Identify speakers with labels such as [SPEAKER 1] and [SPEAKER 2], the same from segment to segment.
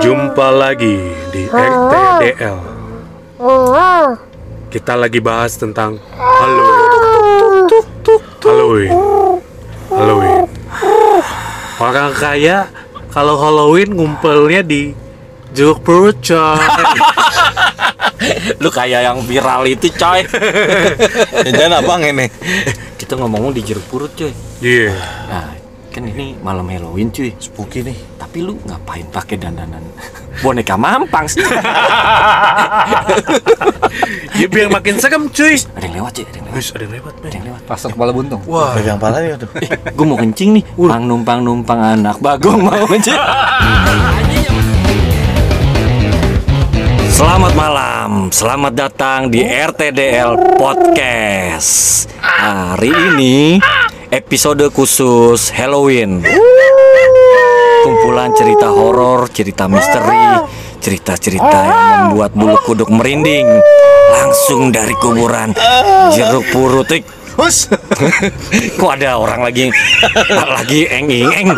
[SPEAKER 1] Jumpa lagi di RTDL. Kita lagi bahas tentang Halloween. Halloween. Halloween. Orang kaya kalau Halloween ngumpulnya di jeruk perut coy.
[SPEAKER 2] Lu kayak yang viral itu coy
[SPEAKER 3] Jangan abang ini.
[SPEAKER 2] Kita ngomong di jeruk purut coy
[SPEAKER 1] Iya.
[SPEAKER 2] Nah kan ini malam Halloween cuy
[SPEAKER 3] Spooky nih.
[SPEAKER 2] Tapi lu ngapain pakai dandanan boneka mampang sih
[SPEAKER 1] Dia Iya, biar makin serem cuy.
[SPEAKER 2] Ada yang lewat cuy ada yang lewat
[SPEAKER 1] Wih, ada yang lewat,
[SPEAKER 2] Ada
[SPEAKER 1] men.
[SPEAKER 2] yang lewat
[SPEAKER 4] Pasang kepala buntung.
[SPEAKER 1] Wah,
[SPEAKER 3] Pegang pala ya tuh.
[SPEAKER 2] Gue mau kencing nih Pang numpang numpang anak bagong mau kencing Selamat malam, selamat datang di RTDL Podcast Hari ini episode khusus Halloween Kumpulan cerita horor, cerita misteri, cerita-cerita yang membuat bulu kuduk merinding Langsung dari kuburan jeruk purut Eh,
[SPEAKER 3] Hus.
[SPEAKER 2] Kok ada orang lagi lagi eng eng eng.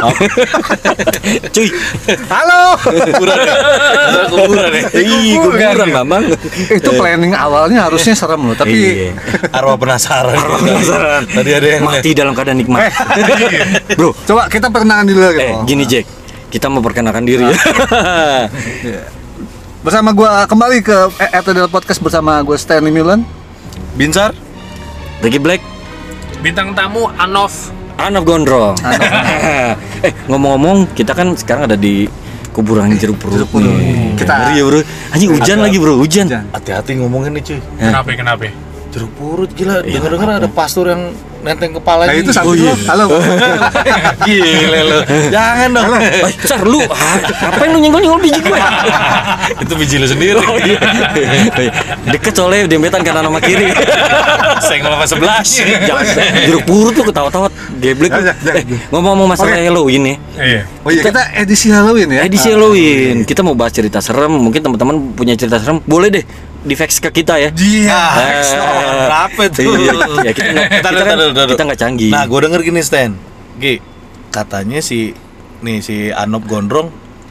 [SPEAKER 2] Cuy,
[SPEAKER 4] Halo.
[SPEAKER 2] kuburan ya. Ih, kuburan Bambang.
[SPEAKER 4] Itu planning awalnya harusnya serem loh, tapi
[SPEAKER 2] Iya.
[SPEAKER 3] Arwah penasaran.
[SPEAKER 2] Arwah penasaran.
[SPEAKER 3] Tadi ada yang
[SPEAKER 2] mati dalam keadaan nikmat.
[SPEAKER 4] Eh,
[SPEAKER 2] Bro,
[SPEAKER 4] coba kita perkenalan dulu gitu.
[SPEAKER 2] eh gini Jack, kita memperkenalkan diri ya.
[SPEAKER 4] Bersama gua kembali ke RTDL Podcast bersama gua Stanley Milan.
[SPEAKER 3] Binsar.
[SPEAKER 2] Ricky Black,
[SPEAKER 1] bintang tamu Anov.
[SPEAKER 2] Anaf Gondrong. eh, ngomong-ngomong, kita kan sekarang ada di kuburan jeruk perut nih.
[SPEAKER 4] Kita-
[SPEAKER 2] Ngeri ya, Bro. Anjing hujan lagi, Bro, hujan.
[SPEAKER 4] Hujan.
[SPEAKER 3] Hati-hati ngomongin nih cuy.
[SPEAKER 1] Kenapa kenapa?
[SPEAKER 3] Jeruk purut gila. Dengar-dengar ada pastor yang nenteng kepala
[SPEAKER 4] Nah, itu
[SPEAKER 3] gitu.
[SPEAKER 4] santri lu.
[SPEAKER 2] iya.
[SPEAKER 4] Halo.
[SPEAKER 3] Gila lu. Jangan dong.
[SPEAKER 2] Eh, Sar, lu ah, ngapain lu nyenggol-nyenggol biji gue?
[SPEAKER 3] itu biji lu sendiri.
[SPEAKER 2] Deket soalnya dempetan kanan sama kiri.
[SPEAKER 3] Senggol sama sebelas.
[SPEAKER 2] Jangan, jeruk purut tuh ketawa-tawa geblek.
[SPEAKER 4] Jangan, jangan, jangan.
[SPEAKER 2] Eh, ngomong-ngomong masalah
[SPEAKER 4] Oke.
[SPEAKER 2] Halloween ya.
[SPEAKER 1] Iya.
[SPEAKER 4] Oh iya, kita edisi Halloween ya.
[SPEAKER 2] Edisi Halloween, kita mau bahas cerita serem. Mungkin teman-teman punya cerita serem, boleh deh di fax ke kita ya.
[SPEAKER 4] Dia.
[SPEAKER 3] Ah,
[SPEAKER 2] Eh,
[SPEAKER 3] Berapa Oh, tuh?
[SPEAKER 2] iya, iya, kita nggak- kita
[SPEAKER 3] Taduh,
[SPEAKER 2] kan-
[SPEAKER 3] taduh, taduh.
[SPEAKER 2] kita nggak canggih.
[SPEAKER 3] Nah, gue denger gini Stan. Gi, katanya si nih si Anop Gondrong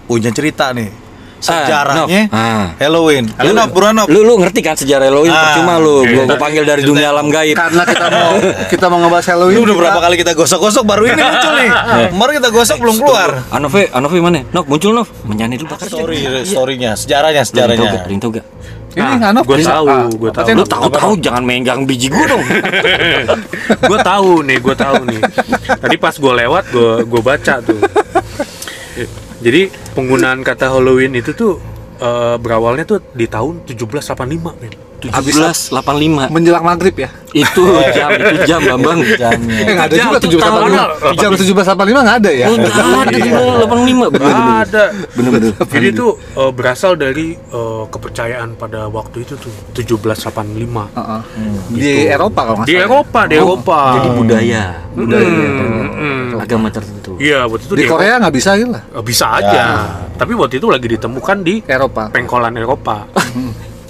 [SPEAKER 3] punya cerita nih sejarahnya
[SPEAKER 2] Nop. Ah.
[SPEAKER 3] Halloween. Ah, Lu Nop, bro Nop.
[SPEAKER 2] Lu lu ngerti kan sejarah Halloween?
[SPEAKER 3] Ah,
[SPEAKER 2] Percuma lu,
[SPEAKER 3] oke.
[SPEAKER 2] gua, gua panggil dari dunia alam gaib.
[SPEAKER 4] Nah, Karena kita mau kita mau ngebahas Halloween.
[SPEAKER 3] Ini udah
[SPEAKER 4] kita-
[SPEAKER 3] berapa kali kita gosok-gosok baru ini muncul nih. Eh. Kemarin kita gosok belum keluar.
[SPEAKER 2] Anove, Anove ah, mana? Nok muncul Nov, menyanyi dulu
[SPEAKER 4] Ah,
[SPEAKER 2] bakar.
[SPEAKER 3] Story, storynya, sejarahnya, sejarahnya.
[SPEAKER 2] Ring tau gak?
[SPEAKER 4] Ini
[SPEAKER 1] Nah,
[SPEAKER 4] Anov
[SPEAKER 1] gua
[SPEAKER 4] bisa-
[SPEAKER 1] tahu,
[SPEAKER 4] ah,
[SPEAKER 1] gua tahu.
[SPEAKER 4] katanya
[SPEAKER 2] Lu tahu-tahu jangan megang biji gua dong.
[SPEAKER 1] gue tahu nih, gue tahu nih. Tadi pas gue lewat, gue gue baca tuh. Jadi penggunaan kata Halloween itu tuh eh, berawalnya tuh di tahun 1785,
[SPEAKER 2] Ah,
[SPEAKER 1] men.
[SPEAKER 2] 1785
[SPEAKER 4] menjelang maghrib ya.
[SPEAKER 2] itu jam itu jam Bambang.
[SPEAKER 4] Eh, nggak ada
[SPEAKER 1] Jam
[SPEAKER 4] juga
[SPEAKER 1] tuh
[SPEAKER 4] 1785.
[SPEAKER 1] tanggal-
[SPEAKER 4] Jam 1785 nggak ada ya.
[SPEAKER 2] Oh, nggak ada Hmm. di 85 bener bener.
[SPEAKER 1] Ah, ada.
[SPEAKER 2] Bener-bener.
[SPEAKER 1] Jadi itu eh, berasal dari eh, kepercayaan pada waktu itu tuh 1785.
[SPEAKER 4] Heeh. Di Eropa kalau nggak
[SPEAKER 1] Di
[SPEAKER 4] salah.
[SPEAKER 1] Eropa,
[SPEAKER 2] Oh,
[SPEAKER 1] di Eropa.
[SPEAKER 2] Jadi budaya, budaya
[SPEAKER 1] Hmm, hmm.
[SPEAKER 2] agama tertentu.
[SPEAKER 1] Iya, waktu itu
[SPEAKER 4] Di Korea nggak bisa gitu lah.
[SPEAKER 1] Eh, bisa aja.
[SPEAKER 2] Ya.
[SPEAKER 1] Tapi waktu itu lagi ditemukan di
[SPEAKER 4] Eropa.
[SPEAKER 1] pengkolan Eropa.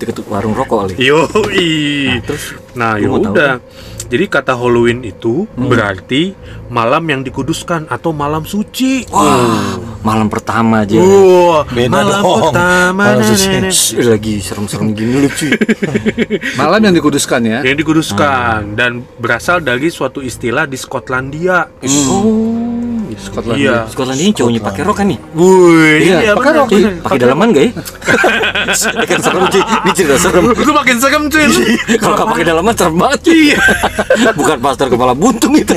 [SPEAKER 2] Deket warung rokok kali.
[SPEAKER 1] Yoi. Nah,
[SPEAKER 2] lu mau tahu
[SPEAKER 1] yaudah. Jadi kata Halloween itu berarti malam yang dikuduskan atau malam suci.
[SPEAKER 2] Wah, malam pertama aja.
[SPEAKER 1] Wah,
[SPEAKER 3] Beda
[SPEAKER 1] malam
[SPEAKER 3] dong.
[SPEAKER 1] pertama nah, na-
[SPEAKER 3] Malam suci.
[SPEAKER 1] na- na-
[SPEAKER 2] Shh, lagi serem-serem gini lu cuy.
[SPEAKER 4] Malam yang dikuduskan ya.
[SPEAKER 1] yang dikuduskan dan berasal dari suatu istilah di Skotlandia.
[SPEAKER 2] Hmm. Oh,
[SPEAKER 1] Iya.
[SPEAKER 4] Skotlandia.
[SPEAKER 2] Skotlandia ini cowoknya pakai rok kan nih?
[SPEAKER 1] Wih,
[SPEAKER 4] Iya, pakai
[SPEAKER 1] bener,
[SPEAKER 4] rok.
[SPEAKER 1] bener.
[SPEAKER 2] Cuy, pakai dalaman gak ya? Ini kan serem cuy, ini cerita serem.
[SPEAKER 1] Itu makin serem cuy. lu.
[SPEAKER 2] Kalau nggak pakai dalaman serem banget cuy. Bukan pastor kepala buntung itu.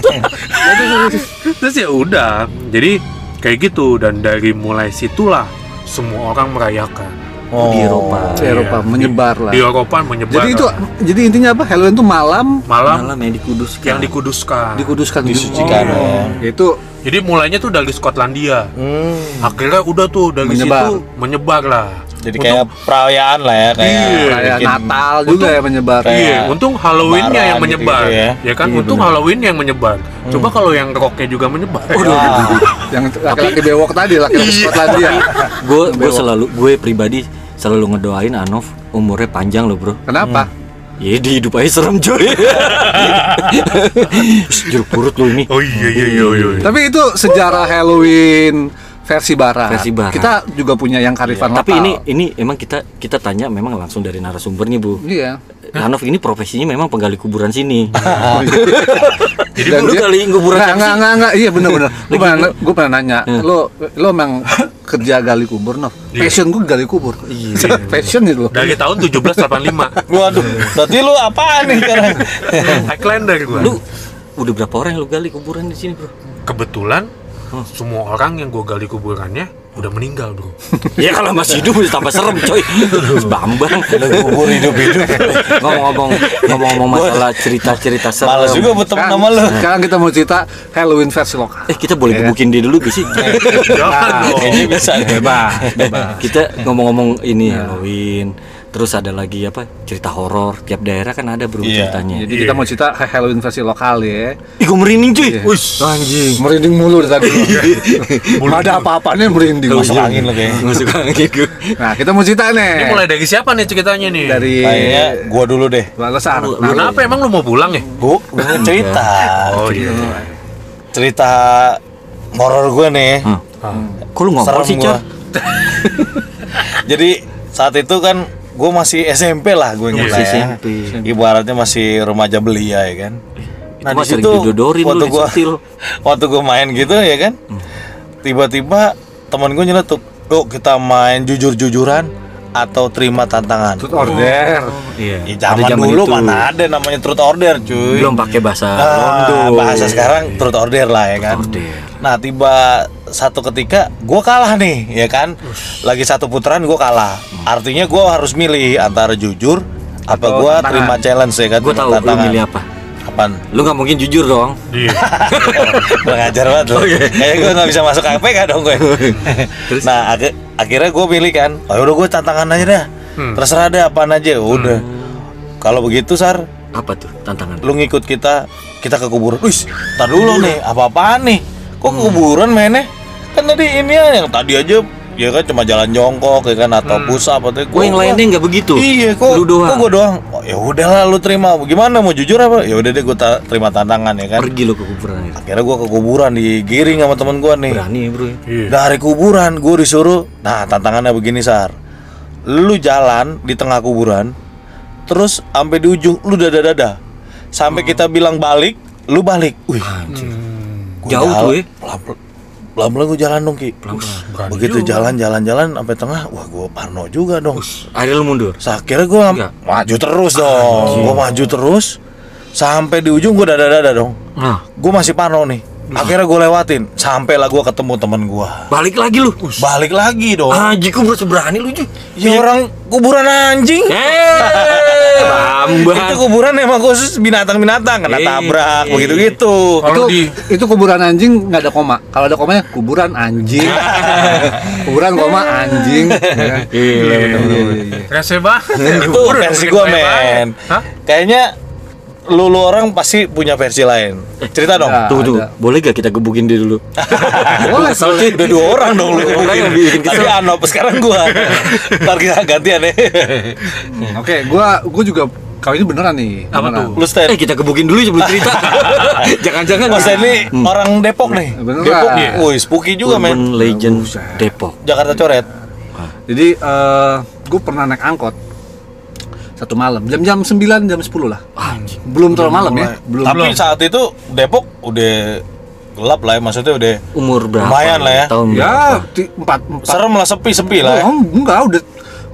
[SPEAKER 1] Terus ya udah. Jadi kayak gitu dan dari mulai situlah semua orang merayakan.
[SPEAKER 3] Oh.
[SPEAKER 2] Di Eropa.
[SPEAKER 4] Di Eropa
[SPEAKER 1] Iya.
[SPEAKER 4] menyebar lah.
[SPEAKER 1] Di Eropa menyebar.
[SPEAKER 4] Jadi itu jadi intinya apa? Halloween itu malam
[SPEAKER 1] malam
[SPEAKER 2] Malam ya di Kudus.
[SPEAKER 1] yang dikuduskan.
[SPEAKER 4] dikuduskan
[SPEAKER 3] Disucikan,
[SPEAKER 2] ya.
[SPEAKER 4] Oh. Itu
[SPEAKER 1] Jadi mulainya tuh dari Skotlandia.
[SPEAKER 3] Hmm.
[SPEAKER 1] Akhirnya udah tuh dari
[SPEAKER 4] Menyebar.
[SPEAKER 1] situ menyebar lah.
[SPEAKER 3] Jadi kayak perayaan lah ya, kayak
[SPEAKER 1] Iya.
[SPEAKER 4] kayak
[SPEAKER 3] bikin-
[SPEAKER 4] Natal juga ya menyebar.
[SPEAKER 3] Kayak-
[SPEAKER 1] Iya, untung Halloweennya
[SPEAKER 3] Lebaran
[SPEAKER 1] yang menyebar,
[SPEAKER 3] gitu-gitu
[SPEAKER 1] ya. kan?
[SPEAKER 4] Iya,
[SPEAKER 1] untung
[SPEAKER 4] bener.
[SPEAKER 1] Halloween yang menyebar. Coba kalau yang roknya juga menyebar.
[SPEAKER 3] Wah.
[SPEAKER 4] Yang laki-laki bewok tadi, laki-laki Skotlandia.
[SPEAKER 2] gue gue selalu gue pribadi selalu ngedoain Anov umurnya panjang loh bro
[SPEAKER 4] Kenapa?
[SPEAKER 2] ya di hidup aja serem cuy Shh, jeruk purut lo ini
[SPEAKER 1] Oh iya iya iya. iya.
[SPEAKER 4] Tapi itu sejarah Halloween versi barat.
[SPEAKER 2] Versi barat.
[SPEAKER 4] Kita juga punya yang karifan
[SPEAKER 2] Tapi
[SPEAKER 4] lokal.
[SPEAKER 2] ini ini emang kita kita tanya memang langsung dari narasumbernya bu.
[SPEAKER 4] iya.
[SPEAKER 2] Hanov ini profesinya memang penggali kuburan sini.
[SPEAKER 4] Jadi
[SPEAKER 2] lu kali kuburan
[SPEAKER 4] nggak, nggak,
[SPEAKER 2] siapa sih?
[SPEAKER 4] nggak, nggak, iya bener-bener Gue pernah, gua pernah nanya, lo, lo emang kerja gali kubur, Nov? Passion gue gali kubur Passion gitu itu lo
[SPEAKER 1] Dari tahun 1785.
[SPEAKER 3] Waduh, berarti lu apaan nih sekarang?
[SPEAKER 1] Highlander gua.
[SPEAKER 2] Lu udah berapa orang yang lu gali kuburan di sini bro?
[SPEAKER 1] kebetulan semua orang yang gua gali kuburannya udah meninggal, Bro.
[SPEAKER 2] ya kalau masih hidup udah tambah serem coy. Bambang.
[SPEAKER 3] Kubur hidup-hidup.
[SPEAKER 2] Ngomong-ngomong ngomong-ngomong masalah cerita-cerita serem.
[SPEAKER 3] Males juga berteman sama lu.
[SPEAKER 4] Sekarang kita mau cerita Halloween versi lokal
[SPEAKER 2] Eh kita boleh gebukin dia dulu gak sih?
[SPEAKER 3] Iya,
[SPEAKER 2] iya.
[SPEAKER 1] Jangan dong.
[SPEAKER 3] Ini bisa deh.
[SPEAKER 2] Ah,
[SPEAKER 4] Bebas, bebas
[SPEAKER 2] kita ngomong-ngomong ini
[SPEAKER 3] Iya.
[SPEAKER 2] Halloween, terus ada lagi apa? Cerita horor tiap daerah kan ada bro
[SPEAKER 3] Iya.
[SPEAKER 2] ceritanya.
[SPEAKER 4] Jadi kita mau cerita Halloween versi lokal ya
[SPEAKER 2] Ih gua merinding cuy.
[SPEAKER 3] Iya.
[SPEAKER 4] Anjing Merinding mulu dari tadi Nggak ada apa-apanya merinding
[SPEAKER 3] Masuk angin lu kayaknya.
[SPEAKER 2] Masuk angin gua.
[SPEAKER 4] Nah kita mau cerita
[SPEAKER 1] Ini
[SPEAKER 4] nih
[SPEAKER 1] mulai dari siapa nih ceritanya nih?
[SPEAKER 4] Dari
[SPEAKER 3] Kayaknya gua dulu deh.
[SPEAKER 4] Lesar
[SPEAKER 1] Nah, Kenapa emang lu mau pulang ya?
[SPEAKER 3] Gua gua cerita.
[SPEAKER 1] Oh iya.
[SPEAKER 3] Cerita horor gua nih.
[SPEAKER 2] Hmm.
[SPEAKER 1] Ah,
[SPEAKER 2] Kok lu ngomong
[SPEAKER 3] Serem
[SPEAKER 2] sih,
[SPEAKER 3] gua.
[SPEAKER 2] Cor?
[SPEAKER 3] Jadi saat itu kan gue masih SMP lah gue
[SPEAKER 2] Masih
[SPEAKER 3] ngira ya.
[SPEAKER 2] SMP.
[SPEAKER 3] Ibaratnya masih remaja belia ya kan.
[SPEAKER 2] Itu mah sering didodorin lu, Hmm.
[SPEAKER 3] waktu gua
[SPEAKER 2] disentil.
[SPEAKER 3] waktu gue main gitu ya kan, tiba-tiba teman gue nyeletuk, "Yuk kita main jujur-jujuran atau terima tantangan."
[SPEAKER 4] Tut order
[SPEAKER 2] Iya.
[SPEAKER 3] Ya, zaman,
[SPEAKER 2] Ada zaman
[SPEAKER 3] dulu
[SPEAKER 2] itu.
[SPEAKER 3] mana ada namanya truth order cuy.
[SPEAKER 2] Belum pakai bahasa
[SPEAKER 3] Ah,
[SPEAKER 2] Londo.
[SPEAKER 3] bahasa sekarang truth order lah ya kan.
[SPEAKER 2] order.
[SPEAKER 3] Nah tiba satu ketika gue kalah nih ya kan. Lagi satu putaran gue kalah.
[SPEAKER 2] Hmm.
[SPEAKER 3] Artinya gue harus milih antara jujur apa
[SPEAKER 4] Atau
[SPEAKER 3] gue
[SPEAKER 4] tantangan.
[SPEAKER 3] terima challenge ya kan.
[SPEAKER 2] Gua
[SPEAKER 3] terima
[SPEAKER 2] tahu lu
[SPEAKER 3] tantangan.
[SPEAKER 2] milih apa.
[SPEAKER 3] Apaan?
[SPEAKER 2] Lu nggak mungkin jujur dong.
[SPEAKER 1] Iya.
[SPEAKER 3] Kurang ajar banget lu. Kayak gue nggak bisa masuk KPK dong gue. nah ak- akhirnya gue pilih kan. Oh udah gue tantangan aja dah.
[SPEAKER 2] Hmm.
[SPEAKER 3] Terserah deh apaan aja. ya Udah. Kalau begitu sar,
[SPEAKER 2] Apa tuh tantangan?
[SPEAKER 3] lu ngikut kita kita ke kuburan wis tar dulu nih apa apaan nih kok
[SPEAKER 2] Hmm.
[SPEAKER 3] ke kuburan mainnya kan tadi ini ya, yang tadi aja ya kan cuma jalan jongkok ya kan atau pusat apa tuh
[SPEAKER 2] Gue Hmm. yang lainnya nggak begitu.
[SPEAKER 3] iya kok
[SPEAKER 2] Lu doang.
[SPEAKER 3] kok gua doang oh, ya udahlah lu terima gimana mau jujur apa ya udah deh gua ta- terima tantangan ya kan
[SPEAKER 2] Pergi lu ke kuburan itu.
[SPEAKER 3] akhirnya gua ke kuburan digiring sama temen gua nih
[SPEAKER 2] Berani ya, bro. ya?
[SPEAKER 1] Iya.
[SPEAKER 3] dari kuburan gue disuruh nah tantangannya begini sar lu jalan di tengah kuburan terus sampai di ujung lu dada dada sampai kita bilang balik lu balik wih Gua
[SPEAKER 2] Jauh
[SPEAKER 3] jalan-
[SPEAKER 2] tuh ya.
[SPEAKER 3] pelan-pelan pelan-pelan gue jalan dong ki Ush, begitu jalan jalan jalan sampai tengah wah gue parno juga dong
[SPEAKER 2] Akhirnya lu mundur.
[SPEAKER 3] Terus akhirnya gue
[SPEAKER 2] Enggak.
[SPEAKER 3] maju terus dong gue maju terus sampai di ujung gue dada dada dong
[SPEAKER 2] Nah,
[SPEAKER 3] gue masih parno nih akhirnya gue lewatin sampailah gue ketemu temen gue
[SPEAKER 2] balik lagi lu.
[SPEAKER 3] balik lagi dong
[SPEAKER 2] Ah, jiku merasa berani lu, Ju.
[SPEAKER 3] ya orang kuburan anjing
[SPEAKER 2] Eh,
[SPEAKER 3] itu
[SPEAKER 2] Bambang.
[SPEAKER 3] kuburan emang khusus binatang-binatang kena
[SPEAKER 2] Eh.
[SPEAKER 3] tabrak begitu gitu
[SPEAKER 1] Kalau
[SPEAKER 4] itu,
[SPEAKER 1] di-
[SPEAKER 4] itu kuburan anjing nggak ada koma kalau ada komanya kuburan anjing kuburan koma anjing
[SPEAKER 1] Iya.
[SPEAKER 4] Ya.
[SPEAKER 2] Gila,
[SPEAKER 1] Rese banget. ya.
[SPEAKER 3] itu
[SPEAKER 1] Kuburan
[SPEAKER 3] versi
[SPEAKER 1] udah
[SPEAKER 3] gue
[SPEAKER 1] keren banget.
[SPEAKER 3] men
[SPEAKER 1] ya. Hah?
[SPEAKER 3] kayaknya lu, lu orang pasti punya versi lain cerita dong
[SPEAKER 4] Nah.
[SPEAKER 2] Tuh, tuh.
[SPEAKER 4] Ada.
[SPEAKER 2] Boleh gak kita gebukin dia dulu?
[SPEAKER 4] Ah, boleh boleh.
[SPEAKER 3] udah dua orang dong lu
[SPEAKER 2] Orang yang bikin
[SPEAKER 3] tapi Anop sekarang gue ntar kita gantian ya. deh
[SPEAKER 4] Hmm, oke gua gua juga kalau ini beneran nih
[SPEAKER 1] Apa
[SPEAKER 4] beneran.
[SPEAKER 1] tuh?
[SPEAKER 3] lu
[SPEAKER 2] Eh,
[SPEAKER 3] stand
[SPEAKER 2] kita gebukin dulu sebelum cerita. Jangan-jangan
[SPEAKER 3] Mas ini orang Depok nih
[SPEAKER 4] Beneran.
[SPEAKER 3] Depok
[SPEAKER 4] Iya.
[SPEAKER 3] wih spooky juga men
[SPEAKER 2] Urban Legend
[SPEAKER 4] Buset.
[SPEAKER 2] Depok.
[SPEAKER 3] Jakarta coret
[SPEAKER 4] Nah, Jadi eh gue pernah naik angkot satu malam, jam-jam 9, jam 10 lah. Belum terlalu malam ya, belum.
[SPEAKER 3] Eh, tapi saat itu Depok udah gelap lah ya maksudnya udah
[SPEAKER 2] Umur berapa?
[SPEAKER 3] Lumayan lah ya.
[SPEAKER 2] Tahun
[SPEAKER 4] Ya,
[SPEAKER 2] berapa?
[SPEAKER 4] ti- empat empat.
[SPEAKER 3] serem lah sepi sepi lah ya.
[SPEAKER 4] Oh, enggak, udah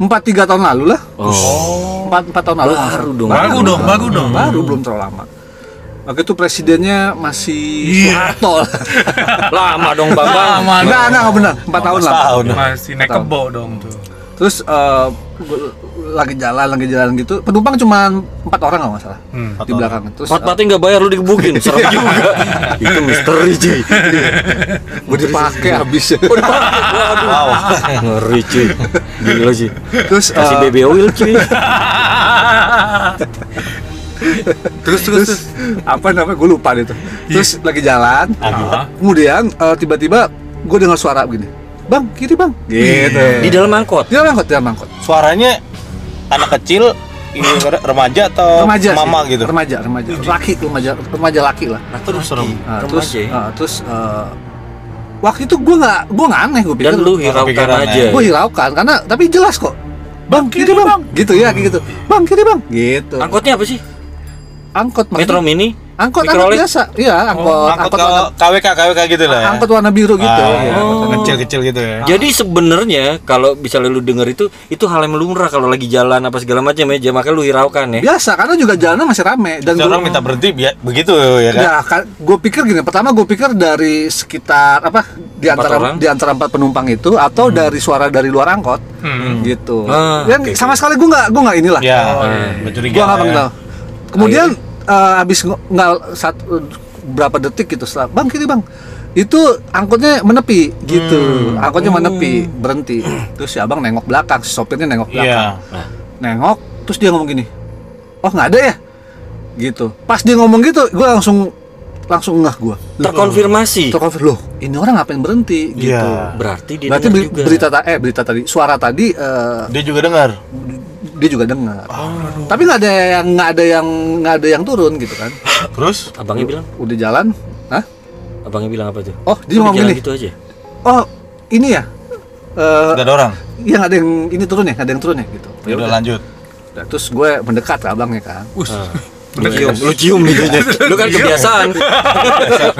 [SPEAKER 4] empat tiga tahun lalu lah.
[SPEAKER 2] Oh,
[SPEAKER 4] Empat empat tahun lalu.
[SPEAKER 2] baru dong.
[SPEAKER 1] Baru dong, baru dong.
[SPEAKER 4] Baru belum terlalu lama. Waktu itu presidennya masih
[SPEAKER 1] Iya.
[SPEAKER 4] Soeharto.
[SPEAKER 2] Lama dong, Bambang.
[SPEAKER 4] Enggak, enggak, enggak benar. Empat Oh, tahun lah. Iya.
[SPEAKER 3] tahun.
[SPEAKER 1] Masih naik kebo dong tuh.
[SPEAKER 4] Terus eh, gua lagi jalan, lagi jalan gitu. Penumpang cuma empat orang kalau nggak salah.
[SPEAKER 1] Hmm.
[SPEAKER 4] di belakang. Terus eh,
[SPEAKER 2] Pat patnya nggak bayar lu digebukin, serem
[SPEAKER 4] Iya
[SPEAKER 2] juga. Itu misteri cuy.
[SPEAKER 4] gue dipakai habis.
[SPEAKER 2] Oh,
[SPEAKER 3] Wow.
[SPEAKER 2] Ngeri cuy. Gila sih.
[SPEAKER 4] Terus
[SPEAKER 2] Kasih
[SPEAKER 4] eh,
[SPEAKER 2] baby oil cuy.
[SPEAKER 1] Terus terus.
[SPEAKER 4] terus apa namanya gue lupa deh tuh terus lagi jalan
[SPEAKER 1] Ah.
[SPEAKER 4] kemudian eh, tiba-tiba gue dengar suara begini bang kiri bang gitu
[SPEAKER 2] Di dalam angkot.
[SPEAKER 4] dia angkot dia angkot
[SPEAKER 3] Suaranya anak kecil, ini remaja atau
[SPEAKER 4] remaja sih.
[SPEAKER 3] mama gitu.
[SPEAKER 4] remaja remaja laki remaja remaja laki lah ya.
[SPEAKER 2] Terus ah, serem.
[SPEAKER 4] Nah, terus eh, terus eh, waktu itu gue nggak gue nggak aneh gue pikir
[SPEAKER 2] Dan lu ya? hiraukan
[SPEAKER 3] Pikiran
[SPEAKER 2] aja.
[SPEAKER 4] gue hiraukan karena tapi jelas kok bang kiri bang, gitu ya kayak gitu bang kiri bang gitu
[SPEAKER 2] Angkotnya apa sih?
[SPEAKER 4] angkot maksudnya.
[SPEAKER 2] Metro Mini?
[SPEAKER 4] angkot angkot
[SPEAKER 2] Mikrolet?
[SPEAKER 4] biasa iya angkot
[SPEAKER 3] Oh, Angkot
[SPEAKER 4] angkot
[SPEAKER 3] kalau
[SPEAKER 4] warna,
[SPEAKER 3] KWK KWK gitu lah ya.
[SPEAKER 4] angkot warna biru gitu Iya,
[SPEAKER 3] Ah, iya,
[SPEAKER 4] angkot warna-
[SPEAKER 3] Kecil-kecil gitu ya.
[SPEAKER 2] Jadi sebenarnya kalau bisa lu denger itu itu hal yang lumrah kalau lagi jalan apa segala macam ya, makanya lu hiraukan ya.
[SPEAKER 4] biasa karena juga jalanan masih rame dan gua-
[SPEAKER 3] Orang minta berhenti ya begitu ya kan.
[SPEAKER 4] Ya, gue pikir gini. Pertama gue pikir dari sekitar apa di antara
[SPEAKER 2] orang?
[SPEAKER 4] di antara empat penumpang itu atau dari suara dari luar angkot, gitu.
[SPEAKER 2] Ah,
[SPEAKER 4] Dan
[SPEAKER 2] oke,
[SPEAKER 4] sama sekali gue nggak gue nggak inilah.
[SPEAKER 3] Ya,
[SPEAKER 4] gue
[SPEAKER 3] mencurigakan.
[SPEAKER 4] iya, nggak
[SPEAKER 3] ya.
[SPEAKER 4] mengenal. Kemudian eh, habis ngo- nggak satu berapa detik gitu setelah bang kiri bang itu angkotnya menepi gitu angkotnya menepi berhenti terus si abang nengok belakang si sopirnya nengok
[SPEAKER 3] Iya.
[SPEAKER 4] belakang nengok terus dia ngomong gini oh nggak ada ya gitu pas dia ngomong gitu gue langsung langsung ngah gue
[SPEAKER 2] Terkonfirmasi.
[SPEAKER 4] terkonfir loh ini orang ngapain berhenti gitu
[SPEAKER 3] Iya.
[SPEAKER 2] Berarti dia
[SPEAKER 4] berarti
[SPEAKER 2] denger
[SPEAKER 4] beri- berita ta- eh berita tadi suara tadi eh,
[SPEAKER 3] Dia juga dengar.
[SPEAKER 4] dia juga dengar
[SPEAKER 3] Ah.
[SPEAKER 4] tapi nggak ada yang nggak ada yang nggak ada yang turun gitu kan
[SPEAKER 3] Terus
[SPEAKER 2] Abangnya bilang,
[SPEAKER 4] udah jalan Hah?
[SPEAKER 2] abangnya bilang apa tuh?
[SPEAKER 4] oh dia
[SPEAKER 2] Udah
[SPEAKER 4] ngomong
[SPEAKER 2] jalan
[SPEAKER 4] gini
[SPEAKER 2] gitu aja.
[SPEAKER 4] oh ini ya Eh,
[SPEAKER 3] udah ada orang.
[SPEAKER 4] yang ada yang ini turun ya nggak ada yang turun ya gitu
[SPEAKER 3] Ya udah lanjut.
[SPEAKER 4] Nah, terus gue mendekat ke abangnya kan
[SPEAKER 2] Lu cium, Iya, lu cium bibirnya. Lu kan kebiasaan.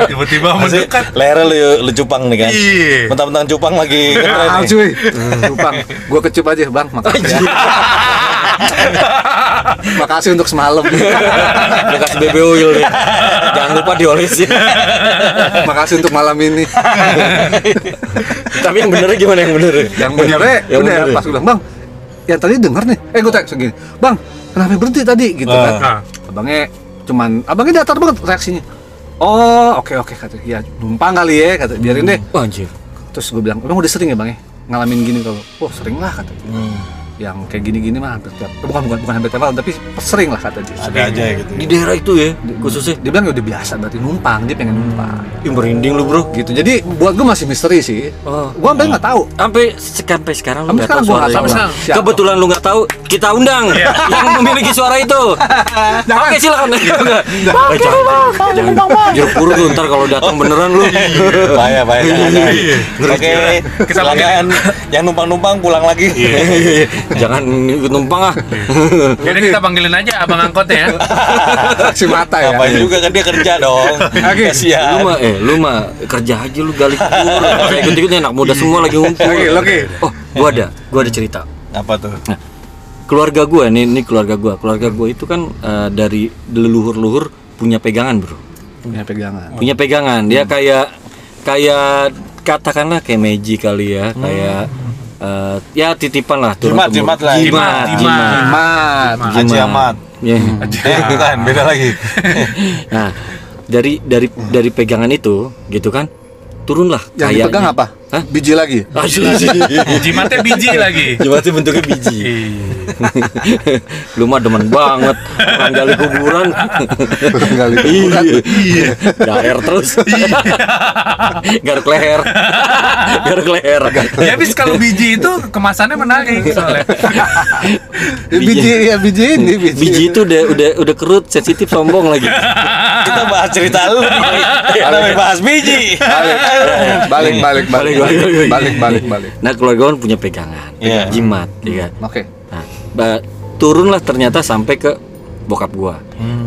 [SPEAKER 1] tiba-tiba
[SPEAKER 3] Masih lehernya lu, lu cupang nih kan.
[SPEAKER 1] Iya.
[SPEAKER 3] Mentang-mentang cupang lagi ngetren
[SPEAKER 4] Ah,
[SPEAKER 3] nih.
[SPEAKER 4] cuy. Cupang. Gua kecup aja, Bang. Makasih. ya. Makasih untuk semalam.
[SPEAKER 2] Lu kasih baby oil nih. Jangan lupa ya. diolesin.
[SPEAKER 4] Makasih untuk malam ini.
[SPEAKER 2] Tapi yang benernya gimana yang bener?
[SPEAKER 4] Yang benernya
[SPEAKER 2] Yang
[SPEAKER 4] udah
[SPEAKER 2] bener. ya?
[SPEAKER 4] pas gua bilang, "Bang, yang tadi denger nih." Eh, gua tanya segini. "Bang, kenapa berhenti tadi?" gitu kan.
[SPEAKER 1] Ah.
[SPEAKER 4] Abangnya cuman abangnya datar banget reaksinya. Oh, oke oke kata. Ya, numpang kali ya kata. Biarin deh.
[SPEAKER 2] Wah, Oh, Anjir.
[SPEAKER 4] Terus gua bilang, "Emang udah sering ya, Bang ya ngalamin gini kalau?" "Oh, sering lah," kata. dia. Yang kayak gini-gini mah hampir tiap bukan bukan bukan hampir tiap malam, tapi sering lah kata dia.
[SPEAKER 3] Ada aja gitu.
[SPEAKER 2] Di daerah itu ya, khususnya
[SPEAKER 4] dia bilang ya udah biasa berarti numpang dia pengen numpang
[SPEAKER 2] yang merinding lu, Bro.
[SPEAKER 4] gitu jadi buat gue masih misteri sih
[SPEAKER 2] Hmm. Oh.
[SPEAKER 4] gue sampai nggak tahu
[SPEAKER 2] sampai se- sampai sekarang lu
[SPEAKER 4] Sampai
[SPEAKER 2] nggak
[SPEAKER 4] sekarang gua
[SPEAKER 2] tahu suara
[SPEAKER 4] nggak tahu,
[SPEAKER 2] itu.
[SPEAKER 4] Bang. Siapa?
[SPEAKER 2] Kebetulan lu nggak tahu, kita undang yang memiliki suara itu. Oke silakan. Enggak. Eh, Iya. jangan- jangan. Jeruk purut lu ntar kalau datang beneran lu.
[SPEAKER 3] Bahaya, bahaya. jangan, jangan.
[SPEAKER 1] Iya.
[SPEAKER 3] Oke, silakan. Yang numpang-numpang pulang lagi.
[SPEAKER 2] Iya. jangan ikut numpang ah.
[SPEAKER 1] Jadi kita panggilin aja abang angkotnya ya.
[SPEAKER 4] si mata ya
[SPEAKER 3] Ngapain
[SPEAKER 2] iya.
[SPEAKER 3] juga kan dia kerja dong.
[SPEAKER 4] Oke.
[SPEAKER 2] lu
[SPEAKER 3] Kasihan.
[SPEAKER 2] mah eh lu mah kerja aja lu gali kubur. Ikut-ikut anak muda semua lagi ngumpul.
[SPEAKER 4] Oke, oke.
[SPEAKER 2] Oh, gua ada. Gua ada cerita. Nah,
[SPEAKER 3] Apa tuh?
[SPEAKER 2] Keluarga gua nih, ini keluarga gua. Keluarga gua itu kan eh, dari leluhur-leluhur punya pegangan, Bro.
[SPEAKER 4] punya pegangan
[SPEAKER 2] punya pegangan dia kayak kayak katakanlah kayak magic kali ya kayak eh, ya titipan lah turun-temurun.
[SPEAKER 3] Jimat, jimat lah.
[SPEAKER 2] jimat
[SPEAKER 1] Jimat,
[SPEAKER 2] jimat,
[SPEAKER 4] mat
[SPEAKER 3] Haji Ahmad.
[SPEAKER 2] Ya.
[SPEAKER 4] Hmm.
[SPEAKER 3] Eh, bukan, beda lagi.
[SPEAKER 2] nah dari dari dari pegangan itu gitu kan turunlah
[SPEAKER 4] yang
[SPEAKER 2] kayaknya.
[SPEAKER 4] dipegang apa
[SPEAKER 2] Hah?
[SPEAKER 4] biji lagi
[SPEAKER 2] Ah, jimat.
[SPEAKER 1] Jimatnya biji lagi.
[SPEAKER 2] Jimatnya bentuknya biji. lu mah demen banget orang gali kuburan.
[SPEAKER 4] Gali kuburan.
[SPEAKER 2] Iya. Daer terus. Garuk leher. Garuk leher.
[SPEAKER 1] Ya habis kalau biji itu kemasannya menarik soalnya.
[SPEAKER 4] Ya, biji ya biji ini biji,
[SPEAKER 2] Biji itu udah udah udah kerut, sensitif, sombong lagi.
[SPEAKER 3] Kita bahas cerita lu. Kita mau bahas biji.
[SPEAKER 4] balik balik balik balik
[SPEAKER 2] Balik, balik,
[SPEAKER 4] balik balik balik
[SPEAKER 2] Nah, keluarga kan punya pegangan,
[SPEAKER 3] Iya.
[SPEAKER 2] jimat, ya kan?
[SPEAKER 4] oke
[SPEAKER 2] Nah, ba- turunlah ternyata sampai ke bokap gua.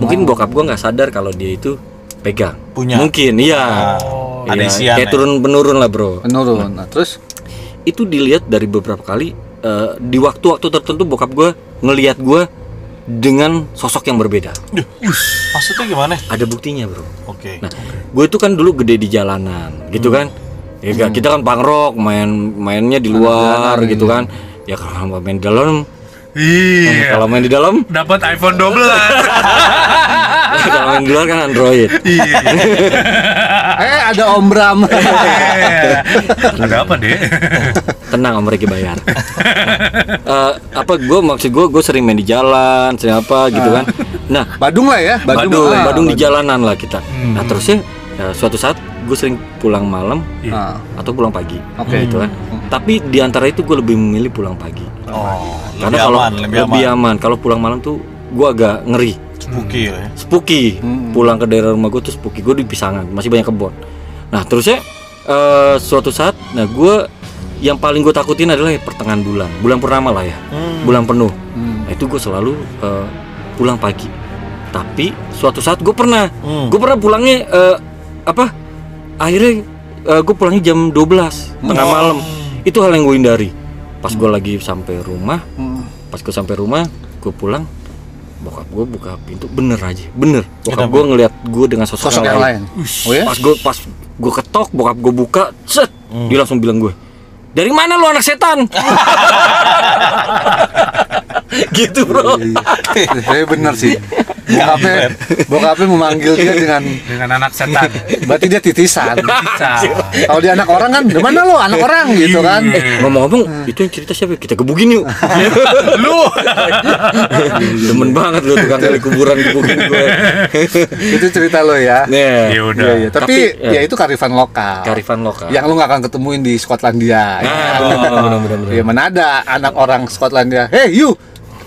[SPEAKER 2] Mungkin bokap gua nggak sadar kalau dia itu pegang.
[SPEAKER 3] Punya.
[SPEAKER 2] Mungkin, iya.
[SPEAKER 3] Oh,
[SPEAKER 2] Iya,
[SPEAKER 3] ada isian
[SPEAKER 2] Kayak
[SPEAKER 3] ya?
[SPEAKER 2] turun menurun lah, Bro.
[SPEAKER 4] menurun nah, terus
[SPEAKER 2] itu dilihat dari beberapa kali eh, di waktu-waktu tertentu bokap gue ngelihat gue dengan sosok yang berbeda
[SPEAKER 3] Maksudnya gimana?
[SPEAKER 2] ada buktinya bro
[SPEAKER 3] Oke.
[SPEAKER 2] nah gue itu kan dulu gede di jalanan gitu kan ya nggak, kita kan pangrok main mainnya di luar gitu kan ya kalau main di dalam
[SPEAKER 1] Iya.
[SPEAKER 2] kalau main di dalam
[SPEAKER 1] Dapat iPhone 12.
[SPEAKER 2] kalau main di luar kan android
[SPEAKER 4] eh ada om Bram
[SPEAKER 1] Iya. Ada apa deh?
[SPEAKER 2] tenang om Riki bayar Eh, apa gue maksud gue gue sering main di jalan sering apa gitu kan nah
[SPEAKER 4] Badung lah ya
[SPEAKER 2] Badung, Badung,
[SPEAKER 4] Ah,
[SPEAKER 2] di jalanan lah kita.
[SPEAKER 3] Hmm.
[SPEAKER 2] Nah terusnya ya, suatu saat gue sering pulang malam
[SPEAKER 4] Ah,
[SPEAKER 2] atau pulang pagi,
[SPEAKER 4] Oke.
[SPEAKER 2] gitu kan. Tapi di antara itu gue lebih memilih pulang pagi,
[SPEAKER 3] Oh,
[SPEAKER 2] karena
[SPEAKER 3] lebih
[SPEAKER 2] kalau
[SPEAKER 3] aman, lebih aman.
[SPEAKER 2] Kalau pulang malam tuh gue agak ngeri,
[SPEAKER 3] Spooky ya.
[SPEAKER 2] spooky. Pulang ke daerah rumah gue tuh spooky. Gue di pisangan, masih banyak kebun. Nah terusnya eh, suatu saat nah gue yang paling gue takutin adalah ya pertengahan bulan bulan purnama lah ya bulan penuh nah itu gue selalu eh, pulang pagi tapi suatu saat gue pernah gue pernah pulangnya eh, apa akhirnya gue pulangnya jam 12 tengah malam itu hal yang gue hindari pas gue lagi sampai rumah
[SPEAKER 4] Hmm.
[SPEAKER 2] pas gue sampai rumah gue pulang bokap gue buka pintu bener aja bener bokap gue ngeliat gue dengan sosok,
[SPEAKER 4] Sosok yang lain.
[SPEAKER 2] Ush,
[SPEAKER 4] Oh ya?
[SPEAKER 2] pas gue pas gue ketok bokap gue buka set
[SPEAKER 4] Hmm.
[SPEAKER 2] dia langsung bilang gue dari mana lu anak setan gitu bro
[SPEAKER 4] Tapi Eh, benar sih. Bokapnya, bokapnya memanggil dia dengan
[SPEAKER 1] dengan anak setan
[SPEAKER 4] berarti dia titisan.
[SPEAKER 1] Bisa.
[SPEAKER 4] Kalau dia anak orang kan, "Di mana lo anak orang gitu kan?
[SPEAKER 2] eh ngomong-ngomong itu yang cerita siapa kita gebugin yuk lu demen banget lu tukang kali kuburan gebugin gue
[SPEAKER 4] Itu cerita lo ya. Ya.
[SPEAKER 2] nah
[SPEAKER 1] ya udah
[SPEAKER 4] Iya, iya. Tapi,
[SPEAKER 2] Tapi,
[SPEAKER 4] ya itu karifan lokal.
[SPEAKER 2] karifan lokal
[SPEAKER 4] Yang lu nggak akan ketemuin di Skotlandia. ya.
[SPEAKER 2] nah bener bener bener
[SPEAKER 4] Ya mana ada anak orang Skotlandia. Hey you,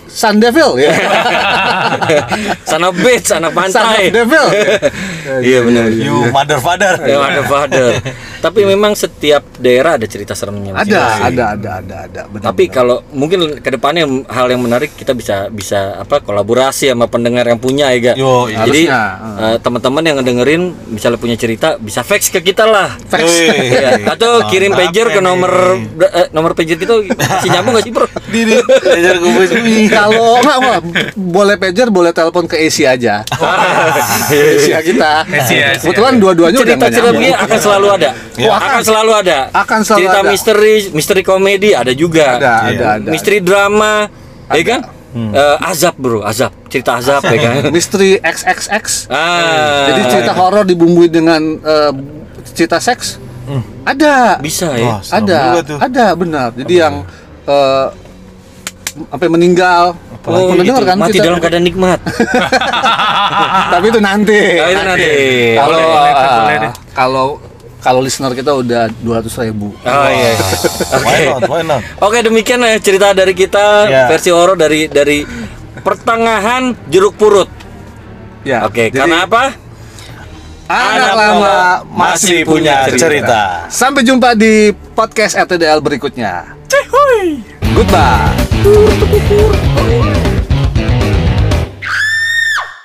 [SPEAKER 4] Sun Devil ya.
[SPEAKER 2] sana bitch anak
[SPEAKER 4] Sun
[SPEAKER 2] pantai
[SPEAKER 4] Devil.
[SPEAKER 2] iya benar
[SPEAKER 3] You mother father.
[SPEAKER 2] Ya, ada father. Tapi
[SPEAKER 4] Ya.
[SPEAKER 2] memang setiap daerah ada cerita seremnya.
[SPEAKER 4] Ada,
[SPEAKER 2] masing-masing.
[SPEAKER 4] ada, ada, ada, ada. Benar,
[SPEAKER 2] Tapi kalau mungkin kedepannya hal yang menarik kita bisa bisa apa kolaborasi sama pendengar yang punya ya, Ga?
[SPEAKER 3] Yo,
[SPEAKER 4] iya.
[SPEAKER 2] Jadi
[SPEAKER 4] Harusnya,
[SPEAKER 2] eh, teman-teman yang dengerin misalnya punya cerita bisa fax ke kita lah. Iya, Atau kirim
[SPEAKER 3] Mantap
[SPEAKER 2] pager ke
[SPEAKER 3] ya
[SPEAKER 2] nomor eh, nomor pager kita masih nyambung nggak sih bro?
[SPEAKER 3] Diri, belajar kubus.
[SPEAKER 4] Ih, kalau nggak nggak, boleh pager boleh telepon ke Asia aja Asia kita
[SPEAKER 1] Asia, Asia.
[SPEAKER 4] kebetulan dua-duanya udah nggak
[SPEAKER 2] cerita-cerita begini
[SPEAKER 4] nyambung
[SPEAKER 2] akan selalu ada.
[SPEAKER 4] Oh,
[SPEAKER 2] akan.
[SPEAKER 4] akan
[SPEAKER 2] selalu ada.
[SPEAKER 4] Akan selalu
[SPEAKER 2] cerita
[SPEAKER 4] ada.
[SPEAKER 2] misteri, misteri komedi ada juga. Iya.
[SPEAKER 4] Ada, ada, ada. Hmm.
[SPEAKER 2] Misteri drama, ya kan? Eh, azab bro, azab. Cerita azab ya kan?
[SPEAKER 4] misteri XXX
[SPEAKER 2] Ah,
[SPEAKER 4] jadi cerita horor dibumbui dengan eh, cerita seks
[SPEAKER 2] Hmm.
[SPEAKER 4] ada
[SPEAKER 2] bisa ya.
[SPEAKER 3] Wah, serem
[SPEAKER 4] ada
[SPEAKER 3] juga tuh.
[SPEAKER 4] ada benar jadi yang eh, sampai meninggal
[SPEAKER 2] Oh,
[SPEAKER 4] Pernah
[SPEAKER 2] gitu.
[SPEAKER 4] dengar kan
[SPEAKER 2] mati
[SPEAKER 4] cerita?
[SPEAKER 2] dalam keadaan nikmat.
[SPEAKER 4] tapi itu nanti
[SPEAKER 2] Nah, itu nanti.
[SPEAKER 4] kalau
[SPEAKER 1] Boleh, boleh, boleh deh.
[SPEAKER 4] eh, kalau kalau listener kita udah 200.000 ribu
[SPEAKER 2] Oh iya.
[SPEAKER 3] Why not? Why not?
[SPEAKER 2] Oke demikian ya cerita dari kita
[SPEAKER 4] Iya.
[SPEAKER 3] Ya.
[SPEAKER 2] versi horor dari dari pertengahan jeruk purut.
[SPEAKER 4] ya
[SPEAKER 2] Oke,
[SPEAKER 4] jadi-
[SPEAKER 2] karena apa?
[SPEAKER 4] Anak lama
[SPEAKER 3] Masih punya cerita.
[SPEAKER 4] Sampai jumpa di podcast RTDL berikutnya. Goodbye.